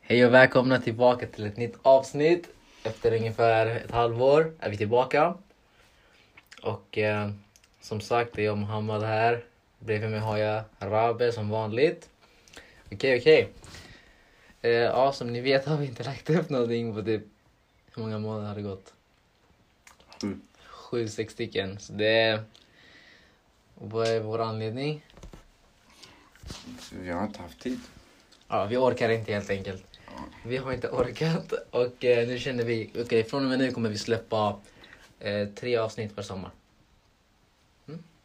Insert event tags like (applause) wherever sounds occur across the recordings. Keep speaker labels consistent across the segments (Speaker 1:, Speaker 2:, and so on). Speaker 1: Hej och välkomna tillbaka till ett nytt avsnitt. Efter ungefär ett halvår är vi tillbaka. Och eh, som sagt, det är jag Mohammad här. Bredvid mig har jag Rabe som vanligt. Okej, okej. Eh, ja, som ni vet har vi inte (laughs) lagt upp någonting på typ... Hur många månader har det gått?
Speaker 2: Sju.
Speaker 1: Sju, sex stycken. Så det... Och vad är vår anledning?
Speaker 2: Vi har inte haft tid.
Speaker 1: Ja, vi orkar inte helt enkelt. Vi har inte orkat och eh, nu känner vi, okej från och med nu kommer vi släppa eh, tre avsnitt per sommar.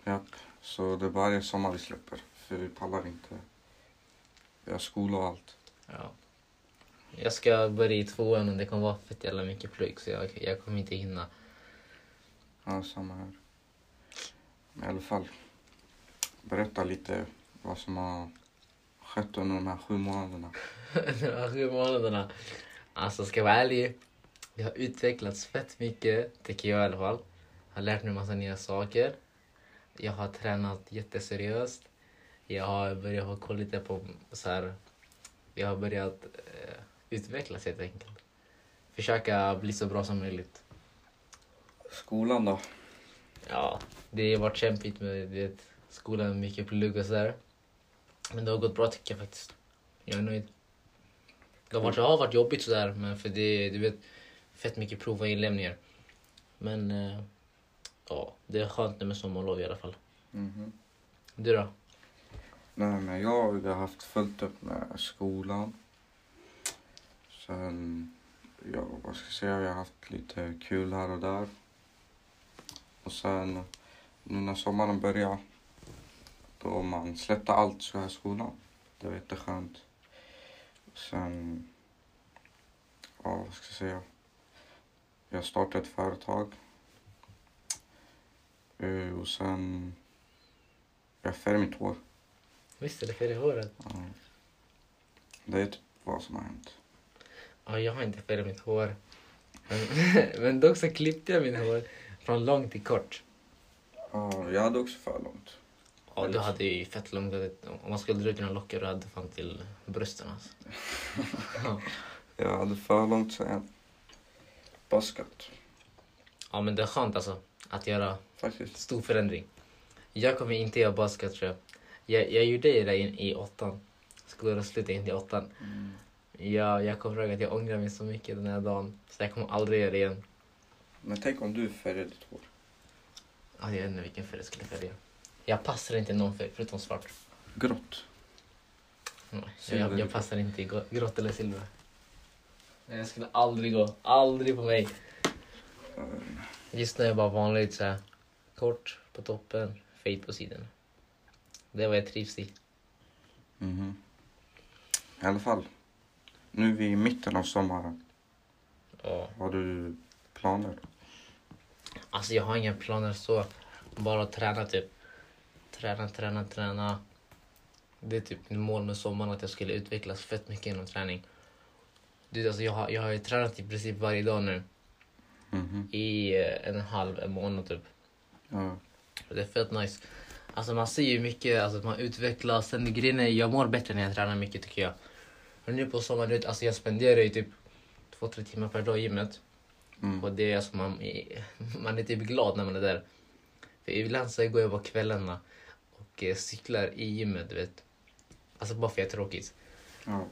Speaker 2: Japp. Så det är varje sommar vi släpper. För vi pallar inte. Vi har skola och allt.
Speaker 1: Ja. Jag ska börja i tvåan och det kommer vara fett jävla mycket plugg så jag, jag kommer inte hinna.
Speaker 2: Ja, samma här. Men i alla fall. Berätta lite vad som har skett under de här sju månaderna.
Speaker 1: de här sju månaderna. Alltså ska jag vara ärlig, vi har utvecklats fett mycket, tycker jag i alla fall. Har lärt mig massa nya saker. Jag har tränat jätteseriöst. Jag har börjat ha koll lite på så här. Jag har börjat eh, utvecklas helt enkelt. Försöka bli så bra som möjligt.
Speaker 2: Skolan då?
Speaker 1: Ja, det har varit kämpigt med du vet, skolan, mycket plugg och sådär. Men det har gått bra tycker jag faktiskt. Jag är nöjd. Det har varit, det har varit jobbigt sådär, men för det du vet, fett mycket prov och inlämningar. Men eh, ja, det är skönt nu med sommarlov i alla fall.
Speaker 2: Mhm.
Speaker 1: Du då?
Speaker 2: Nej, men jag har haft fullt upp med skolan. Sen, ja, vad ska jag säga, jag har haft lite kul här och där. Och sen, nu när sommaren börjar, då man släppte allt så här i skolan. Det var jätteskönt. Sen, ja, vad ska jag säga. Jag startade ett företag. Eh, Och sen, jag färgade mitt hår.
Speaker 1: Visst är det färg i håret?
Speaker 2: Ja. Det är typ vad som har hänt.
Speaker 1: Ja, jag har inte färgat mitt hår. Men, men (laughs) dock så klippte jag mitt hår från långt till kort.
Speaker 2: Ja, jag hade också för långt.
Speaker 1: Ja, du hade ju fett långt. Om man skulle dra ut dina lockar, du hade fan till brösten alltså. Ja.
Speaker 2: Jag hade för långt sen. Basket,
Speaker 1: Ja men det är skönt alltså att göra
Speaker 2: faktiskt.
Speaker 1: stor förändring. Jag kommer inte göra basket tror jag. Jag, jag gjorde ju det i, i åttan. Skulle sluta in i åttan.
Speaker 2: Mm.
Speaker 1: Jag, jag kommer ihåg att jag ångrar mig så mycket den här dagen. Så jag kommer aldrig göra det igen.
Speaker 2: Men tänk om du färgade ditt hår.
Speaker 1: Ja, Alltså, jag vet inte vilken färg jag skulle färga. Jag passar inte i någon färg förutom svart.
Speaker 2: Grått.
Speaker 1: Nej,
Speaker 2: Silver.
Speaker 1: Jag, jag passar inte i gr- grått eller silver. Nej, jag skulle aldrig gå. Aldrig på mig.
Speaker 2: Ehm,
Speaker 1: Just nu är jag bara vanligt så här. Kort på toppen, fade på sidorna. Det är vad jag trivs i.
Speaker 2: mhm. I alla fall. Nu är vi i mitten av sommaren.
Speaker 1: Ja.
Speaker 2: Har du planer?
Speaker 1: Alltså jag har inga planer så. Bara träna typ. Träna, träna, träna. Det är typ mitt mål med sommaren att jag skulle utvecklas fett mycket inom träning. Du, alltså jag, har, jag har ju tränat i princip varje dag nu
Speaker 2: Mhm.
Speaker 1: i eh, en halv en månad typ.
Speaker 2: Ja.
Speaker 1: Och Det är fett nice. Alltså man ser ju mycket, alltså man utvecklas. Sen grejen är, jag mår bättre när jag tränar mycket tycker jag. Men nu på sommaren, du vet, alltså jag spenderar ju typ två, tre timmar per dag i gymmet. Och
Speaker 2: Mm.
Speaker 1: det är alltså man, man är (laughs) typ glad när man är där. För ibland så går jag på kvällarna och eh, cyklar i gymmet, du vet. Alltså bara för att jag är tråkigt.
Speaker 2: ja.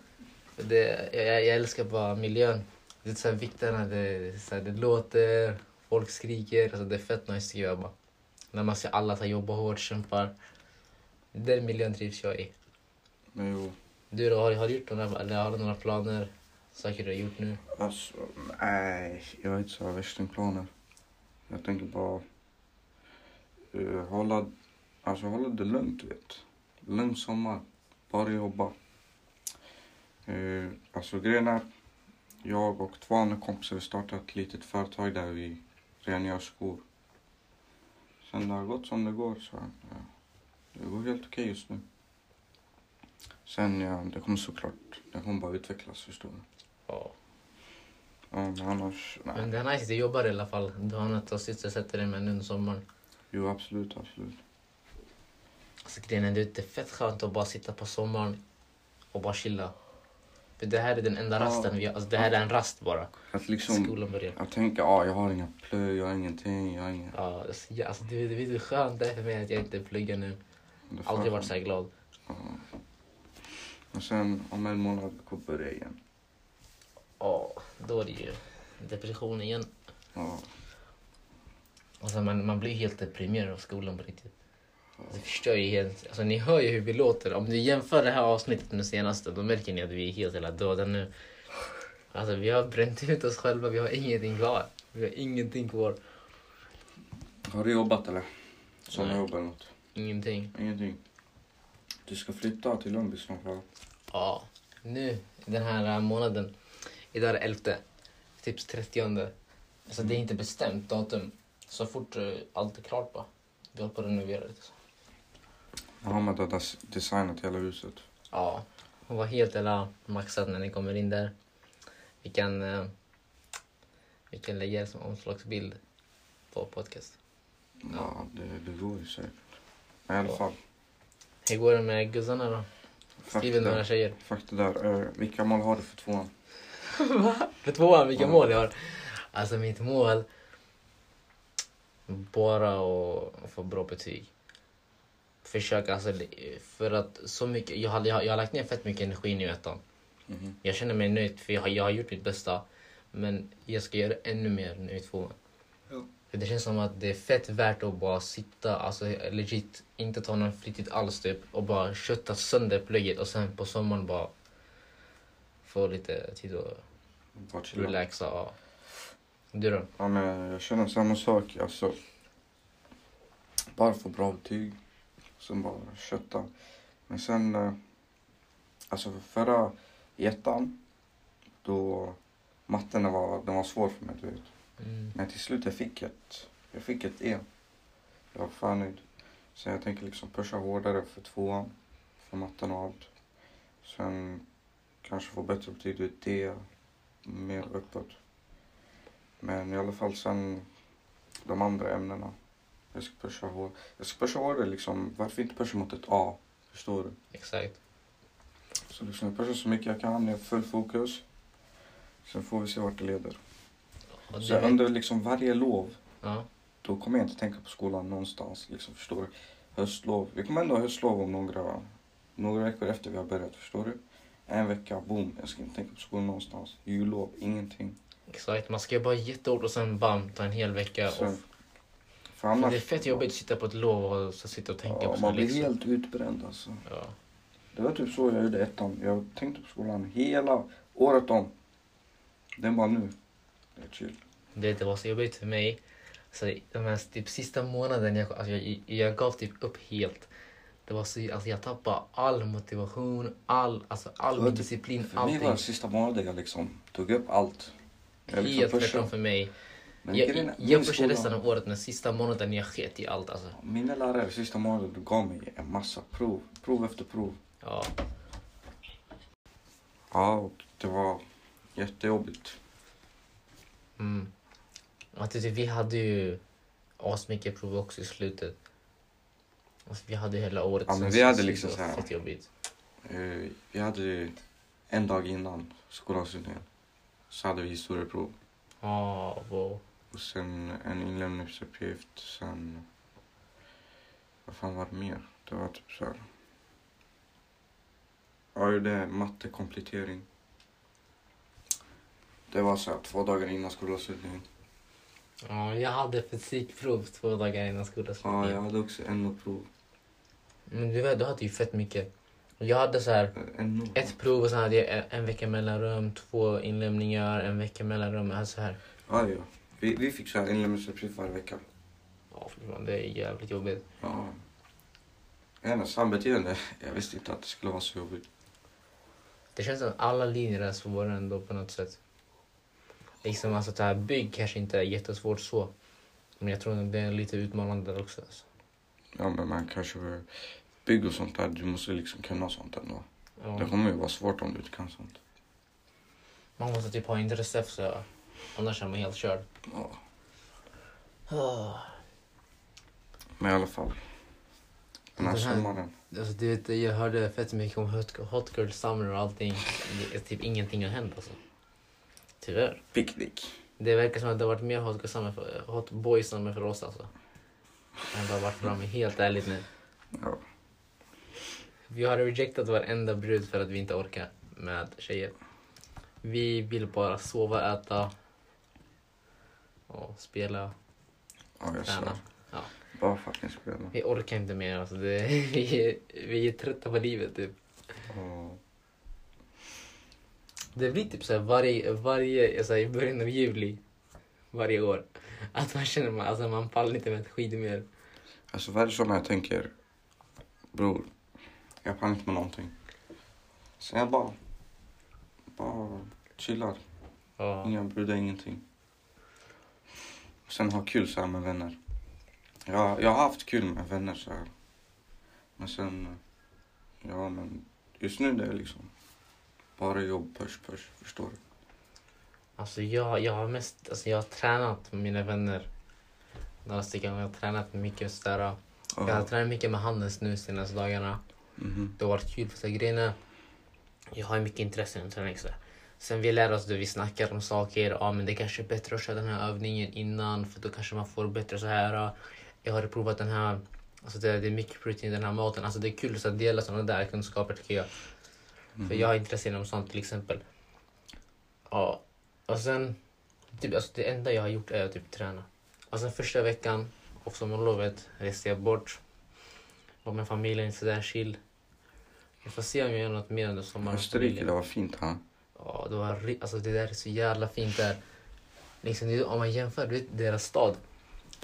Speaker 1: För Det, jag, jag älskar bara miljön. Det är så här vikterna, det, så här, det låter, folk skriker. Alltså det är fett nice tycker jag bara. När man ser alla så här, jobba hårt, kämpar. Den miljön trivs jag i.
Speaker 2: Men jo.
Speaker 1: Du då, har, har du gjort några, eller har du några planer? Saker du har gjort nu?
Speaker 2: Alltså, nej, jag har inte så här värstingplaner. Jag tänker bara eh, hålla, alltså, hålla det lugnt, du vet. Lugn sommar. Bara jobba. Uh, alltså grejen är, jag och två andra kompisar vi startade ett litet företag där vi rengör skor. Sen det har gått som det går så ja, det går helt okej just nu. Sen ja, det kommer såklart, det kommer bara utvecklas förstår du.
Speaker 1: Ja.
Speaker 2: Ja, men annars, nej.
Speaker 1: Men det är nice, du jobbar i alla fall. Du har något att sysselsätta dig med nu under sommaren.
Speaker 2: Jo, absolut, absolut.
Speaker 1: Alltså grejen är, det är fett skönt att bara sitta på sommaren och bara chilla. För det här är den enda
Speaker 2: Ja.
Speaker 1: rasten vi har. Alltså det här är en rast bara.
Speaker 2: Att liksom,
Speaker 1: Skolan börjar.
Speaker 2: jag tänker, ja, jag har inga plöj, jag har ingenting, jag har inga...
Speaker 1: Ja, alltså, ja, alltså, du, vet hur skönt det är för mig att jag inte pluggar nu.
Speaker 2: Det är
Speaker 1: Aldrig
Speaker 2: fan-
Speaker 1: varit så här glad.
Speaker 2: Och sen om en månad går börja igen.
Speaker 1: Ja, då är det ju depression igen.
Speaker 2: Ja,
Speaker 1: Alltså man, man blir helt deprimerad av skolan på riktigt. Det förstör ju helt. Alltså ni hör ju hur vi låter. Om du jämför det här avsnittet med det senaste då märker ni att vi är helt jävla döda nu. Alltså vi har bränt ut oss själva. Vi har ingenting kvar. Vi har ingenting kvar.
Speaker 2: Har du jobbat eller?
Speaker 1: Nej.
Speaker 2: Sommarjobb eller något?
Speaker 1: Ingenting.
Speaker 2: Ingenting. Du ska flytta till Lundby snart va?
Speaker 1: Ja. Nu den här äh, månaden. Idag är det 11. Typ 30. Alltså det är inte bestämt datum. Så fort äh, allt är klart bara. Vi håller på att renovera lite.
Speaker 2: Jag har med att designat hela huset.
Speaker 1: Ja, hon var helt jävla maxad när ni kommer in där. Vi kan, eh, vi kan lägga er som omslagsbild på podcast.
Speaker 2: Ja, det, det går ju säkert. Men I alla fall.
Speaker 1: Hur går det med gussarna då?
Speaker 2: Fuck det
Speaker 1: Skriver några
Speaker 2: där.
Speaker 1: tjejer.
Speaker 2: Fuck det där. Eh, vilka mål har du för tvåan?
Speaker 1: För tvåan, vilka
Speaker 2: Ja.
Speaker 1: mål jag har. Alltså mitt mål, bara att få bra betyg. Försöka alltså, för att så mycket, jag har, jag har, jag har lagt ner fett mycket energi nu i ettan.
Speaker 2: Mhm.
Speaker 1: Jag känner mig nöjd för jag har, jag har gjort mitt bästa. Men jag ska göra ännu mer nu i tvåan.
Speaker 2: Ja.
Speaker 1: För det känns som att det är fett värt att bara sitta, alltså legit, inte ta någon fritid alls typ. Och bara kötta sönder plugget och sen på sommaren bara få lite tid att
Speaker 2: Bara chilla.
Speaker 1: relaxa. Ja. Du då?
Speaker 2: Ja, men jag känner samma sak. Alltså, bara få bra betyg. Sen bara kötta. Men sen, eh, alltså för förra i ettan, då matten den var, den var svår för mig. Du vet.
Speaker 1: Mm.
Speaker 2: Men till slut jag fick ett, jag fick ett E. Jag var fan nöjd. Sen jag tänker liksom pusha hårdare för tvåan, för matten och allt. Sen kanske få bättre betyg, du vet, D, mer uppåt. Men i alla fall sen de andra ämnena. Jag ska pusha hårdare. Jag ska pusha hårdare liksom, varför inte pusha mot ett A? Förstår du?
Speaker 1: Exakt.
Speaker 2: Så liksom jag pushar så mycket jag kan, jag har full fokus. Sen får vi se vart det leder.
Speaker 1: Och
Speaker 2: Så
Speaker 1: du,
Speaker 2: under liksom varje lov
Speaker 1: ja.
Speaker 2: då kommer jag inte tänka på skolan någonstans. Liksom, förstår du? Höstlov. Vi kommer ändå ha höstlov om några, några veckor efter vi har börjat. Förstår du? En vecka, boom. Jag ska inte tänka på skolan någonstans. Jullov, ingenting.
Speaker 1: Exakt. Man ska ju bara jättehårt och sen bam, ta en hel vecka.
Speaker 2: Så-
Speaker 1: off.
Speaker 2: för
Speaker 1: För det är fett jobbigt att sitta på ett lov och så sitta och tänka
Speaker 2: ja,
Speaker 1: på sina
Speaker 2: Man blir
Speaker 1: läxor.
Speaker 2: helt utbränd alltså.
Speaker 1: Ja.
Speaker 2: Det var typ så jag gjorde i ettan. Jag tänkte på skolan hela året om. Den bara nu. Det är chill.
Speaker 1: Det, det var så jobbigt för mig. Så de här typ, sista månaden, jag, alltså, jag, jag gav typ upp helt. Det var så, alltså, jag tappade all motivation, all, alltså, all
Speaker 2: För
Speaker 1: min
Speaker 2: det-
Speaker 1: disciplin,
Speaker 2: För mig var
Speaker 1: allting.
Speaker 2: det sista månaden jag liksom tog upp allt. Jag liksom
Speaker 1: Helt
Speaker 2: pushade.
Speaker 1: tvärtom för mig.
Speaker 2: Men grejen är,
Speaker 1: jag
Speaker 2: min
Speaker 1: jag pushade
Speaker 2: skola-
Speaker 1: resten av året, men sista månaden jag sket i allt. Alltså.
Speaker 2: Mina lärare sista månaden gav mig en massa prov. Prov efter prov.
Speaker 1: Ja,
Speaker 2: Ja, och det var jättejobbigt.
Speaker 1: mm. att, du- vi hade ju asmycket prov också i slutet. Alltså, vi hade hela året.
Speaker 2: Ja, men
Speaker 1: som
Speaker 2: vi hade
Speaker 1: sist,
Speaker 2: liksom
Speaker 1: det
Speaker 2: så
Speaker 1: var
Speaker 2: här-
Speaker 1: Fett jobbigt.
Speaker 2: Eh, Vi hade ju en dag innan skolavslutningen så hade vi historieprov.
Speaker 1: Ja, wow.
Speaker 2: Och sen en inlämningsuppgift, sen... Vad fan var det mer? Det var typ så här... Ja, jag gjorde mattekomplettering. Det var så här två dagar innan skolavslutningen.
Speaker 1: Ja, jag hade fysikprov två dagar innan skolan
Speaker 2: Ja,
Speaker 1: slutade.
Speaker 2: jag hade också NO-prov.
Speaker 1: Men du vet, du hade ju fett mycket. Jag hade så här
Speaker 2: Eh, NO?
Speaker 1: ett prov och sen hade jag en, en vecka mellanrum, två inlämningar, en vecka mellanrum. Alltså så här.
Speaker 2: Ja, ja. Vi, vi fick så här inlämningsuppgift varje vecka.
Speaker 1: Ja, fy fan, det är jävligt jobbigt.
Speaker 2: Ja. Hennes sambeteende. Jag visste inte att det skulle vara så jobbigt.
Speaker 1: Det känns som att alla linjer är svåra ändå på något sätt. Liksom alltså det här bygg kanske inte är jättesvårt så. Men jag tror att det är lite utmanande där också. Alltså.
Speaker 2: Ja, men man kanske bygg och sånt där. Du måste liksom kunna sånt ändå. Det
Speaker 1: Ja.
Speaker 2: kommer ju vara svårt om du inte kan sånt.
Speaker 1: Man måste typ ha intresse för det. Annars är man helt körd.
Speaker 2: Ja.
Speaker 1: Ah.
Speaker 2: Men i alla fall. Den här
Speaker 1: Den här-
Speaker 2: sommaren.
Speaker 1: (sighs) Alltså, du vet, jag hörde fett mycket om Hot, hot Girl Summer och allting. Det är typ ingenting har hänt alltså. Tyvärr.
Speaker 2: Picknick.
Speaker 1: Det verkar som att det har varit mer Hot, girl summer för, hot Boy Summer för oss alltså. Än vad det har varit för dem, helt ärligt nu.
Speaker 2: Ja.
Speaker 1: Vi har rejectat varenda brud för att vi inte orkar med tjejer. Vi vill bara sova, äta och spela,
Speaker 2: Ja, jag
Speaker 1: träna.
Speaker 2: sa.
Speaker 1: Ja.
Speaker 2: Bara fucking spela.
Speaker 1: Vi orkar inte mer alltså. Det, vi, är, vi är trötta på livet typ.
Speaker 2: Ja.
Speaker 1: Det blir typ såhär varje, varje alltså i början av juli varje år. Att man känner man, alltså man pallar inte med ett skit mer.
Speaker 2: Alltså vad är det som jag tänker? Bror, jag pallar inte med någonting. Så jag bara... Bara chillar.
Speaker 1: Ja.
Speaker 2: Inga brudar, ingenting. Sen ha kul så här med vänner. Jag, jag har haft kul med vänner så här. Men sen... Ja men just nu det är liksom... Bara jobb, push, push. Förstår du?
Speaker 1: Alltså jag, jag har mest, alltså jag har tränat med mina vänner. Några stycken gånger. Jag har tränat mycket sådär. Jag har
Speaker 2: Ja.
Speaker 1: tränat mycket med Hannes nu senaste dagarna.
Speaker 2: Mhm.
Speaker 1: Det har varit kul för sig. Grejen är, jag har ju mycket intresse inom träning. Så. Sen vi lär oss det, vi snackar om saker. Ja, men det kanske är bättre att köra den här övningen innan för då kanske man får bättre så här. ja. Jag har provat den här, alltså det, det är mycket protein i den här maten. Alltså det är kul så att dela sådana där kunskaper tycker jag. För jag är intresserad inom sånt till exempel. Ja, och sen, typ, alltså det enda jag har gjort är att typ träna. Och sen första veckan, och sommarlovet, reste jag bort. Var med familjen, sådär chill. Jag får se om jag gör något mer under sommaren. med
Speaker 2: Österrike,
Speaker 1: familjen.
Speaker 2: det var fint ha.
Speaker 1: Ja, det var ri- alltså det där är så jävla fint där. Liksom, det- om man jämför du vet, deras stad.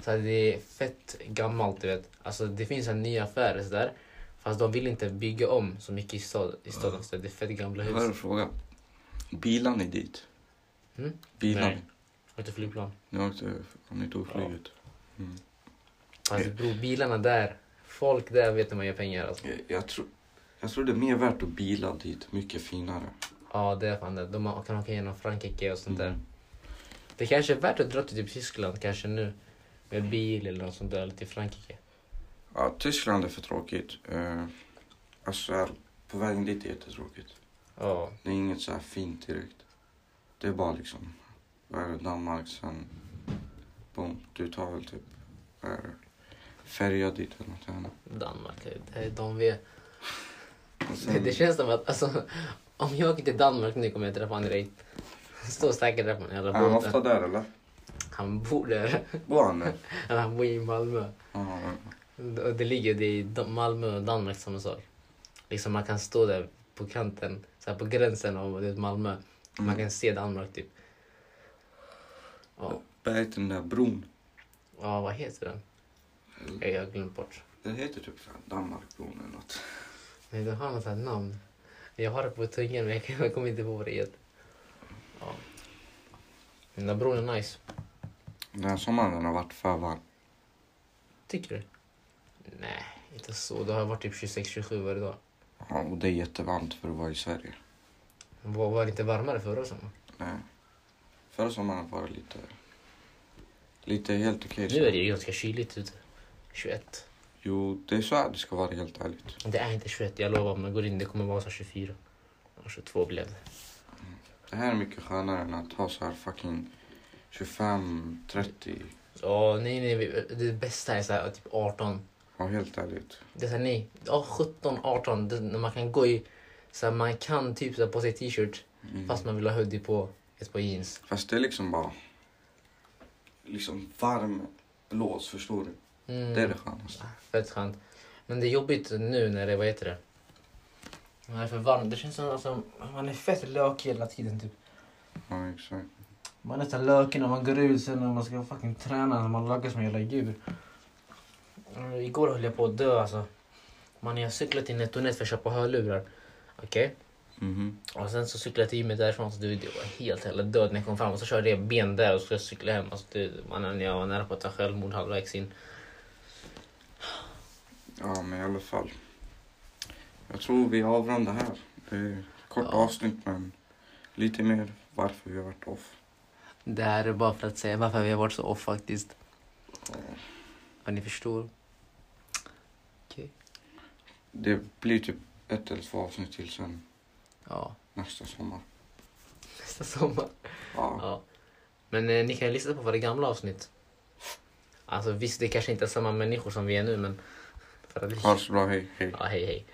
Speaker 1: Så här, det är fett gammalt, du vet. Alltså det finns en ny affär så där. Fast de vill inte bygga om så mycket i, stad, i staden. Så det är fett gamla
Speaker 2: Vad är
Speaker 1: hus.
Speaker 2: det fråga? Bilar ni dit?
Speaker 1: Mm?
Speaker 2: Bilar
Speaker 1: Nej. Har inte flygplan.
Speaker 2: ni? Ni åkte, ni tog
Speaker 1: Ja.
Speaker 2: flyget? Mm.
Speaker 1: Alltså bro, bilarna där. Folk där vet hur man gör pengar alltså.
Speaker 2: Jag, jag, tror, jag tror det är mer värt att bila dit, mycket finare.
Speaker 1: Ja, det är fan det. De kan åka genom Frankrike och sånt
Speaker 2: Mm.
Speaker 1: där. Det kanske är värt att dra till typ Tyskland kanske nu. Med bil eller något sånt där. Eller till Frankrike.
Speaker 2: Ja, Tyskland är för tråkigt. Uh, alltså, här, på vägen dit är det jättetråkigt.
Speaker 1: Ja.
Speaker 2: Det är inget så här fint direkt. Det är bara liksom, vad är det, Danmark, sen boom, du tar väl typ, vad är det, färja dit eller något annat.
Speaker 1: Danmark, det är de vi...
Speaker 2: Och
Speaker 1: Det,
Speaker 2: sen-
Speaker 1: det känns som att alltså, om jag åker till Danmark nu kommer jag träffa han direkt. Han står säkert där på den jävla
Speaker 2: Är han
Speaker 1: båten.
Speaker 2: ofta där eller?
Speaker 1: Han bor där.
Speaker 2: Bor han där?
Speaker 1: Han bor i Malmö.
Speaker 2: Ja, ja.
Speaker 1: Och det ligger det är i Dan- Malmö och Danmark samma sak. Liksom man kan stå där på kanten, så här på gränsen av det är Malmö. Man kan se Danmark typ. Ja,
Speaker 2: Vad heter den där bron?
Speaker 1: ja vad heter den? Jag jag har glömt bort.
Speaker 2: Den heter typ så här Danmarkbron eller något.
Speaker 1: Nej, den har något sånt här namn. Jag har det på tungan men jag kan- jag kommer inte på vad det heter. Ja. Den där bron är nice.
Speaker 2: Den här sommaren har varit för varm.
Speaker 1: Tycker du? Nej, inte så. Det har varit typ 26-27 varje dag.
Speaker 2: Ja, och det är jättevarmt för att vara i Sverige.
Speaker 1: Var, var det inte varmare förra sommaren?
Speaker 2: Nej. Förra sommaren var det lite... Lite helt okej.
Speaker 1: Nu är det ju ganska kyligt ute. 21.
Speaker 2: Jo, det är så här det ska vara helt ärligt.
Speaker 1: Det är inte 21, jag lovar. Om man går in det kommer vara så här 24. Ja, 22 blev det.
Speaker 2: Det här är mycket skönare än att ha så här fucking 25, 30.
Speaker 1: Ja, nej, nej. vi- Det bästa är så här, typ 18.
Speaker 2: Ja, helt ärligt.
Speaker 1: Det är så här, nej. Ja, 17, 18. Det, när man kan gå i... Så här, man kan typ så här, på sig t-shirt
Speaker 2: Mm.
Speaker 1: fast man vill ha hoodie på ett par jeans.
Speaker 2: Fast det är liksom bara... Liksom varm blås, förstår du?
Speaker 1: Mm.
Speaker 2: Det är det skönaste.
Speaker 1: Fett skönt. Men det är jobbigt nu när det, vad heter det? När det är för varmt. Det känns som alltså, man är fett lökig hela tiden typ.
Speaker 2: Ja, exakt.
Speaker 1: Man är så här lökig när man går ut sen när man ska fucking träna, när man lökar som en jävla djur. Mm, Igår höll jag på att dö alltså. Man jag cyklade till Netonet för att köpa hörlurar. Okej?
Speaker 2: Mhm.
Speaker 1: Och sen så cyklade jag till gymmet därifrån så du vet, jag var helt jävla död när jag kom fram. Och så körde jag ben där och skulle cykla hem. Alltså, du, man, jag var nära på att ta självmord halvvägs in.
Speaker 2: Ja, men i alla fall. Jag tror vi avrundar här. Det är ett kort
Speaker 1: Ja.
Speaker 2: avsnitt, men lite mer varför vi har varit off.
Speaker 1: Det här är bara för att säga varför vi har varit så off faktiskt.
Speaker 2: Ja.
Speaker 1: Ja, ni förstår. Okej.
Speaker 2: Det blir typ ett eller två avsnitt till sen
Speaker 1: Ja,
Speaker 2: nästa sommar.
Speaker 1: nästa sommar.
Speaker 2: Ja.
Speaker 1: Ja. Men eh, ni kan ju lyssna på våra gamla avsnitt. Alltså visst, det kanske inte är samma människor som vi är nu, men... För att vi...
Speaker 2: Ha det så bra, hej, hej.
Speaker 1: Ja, hej hej.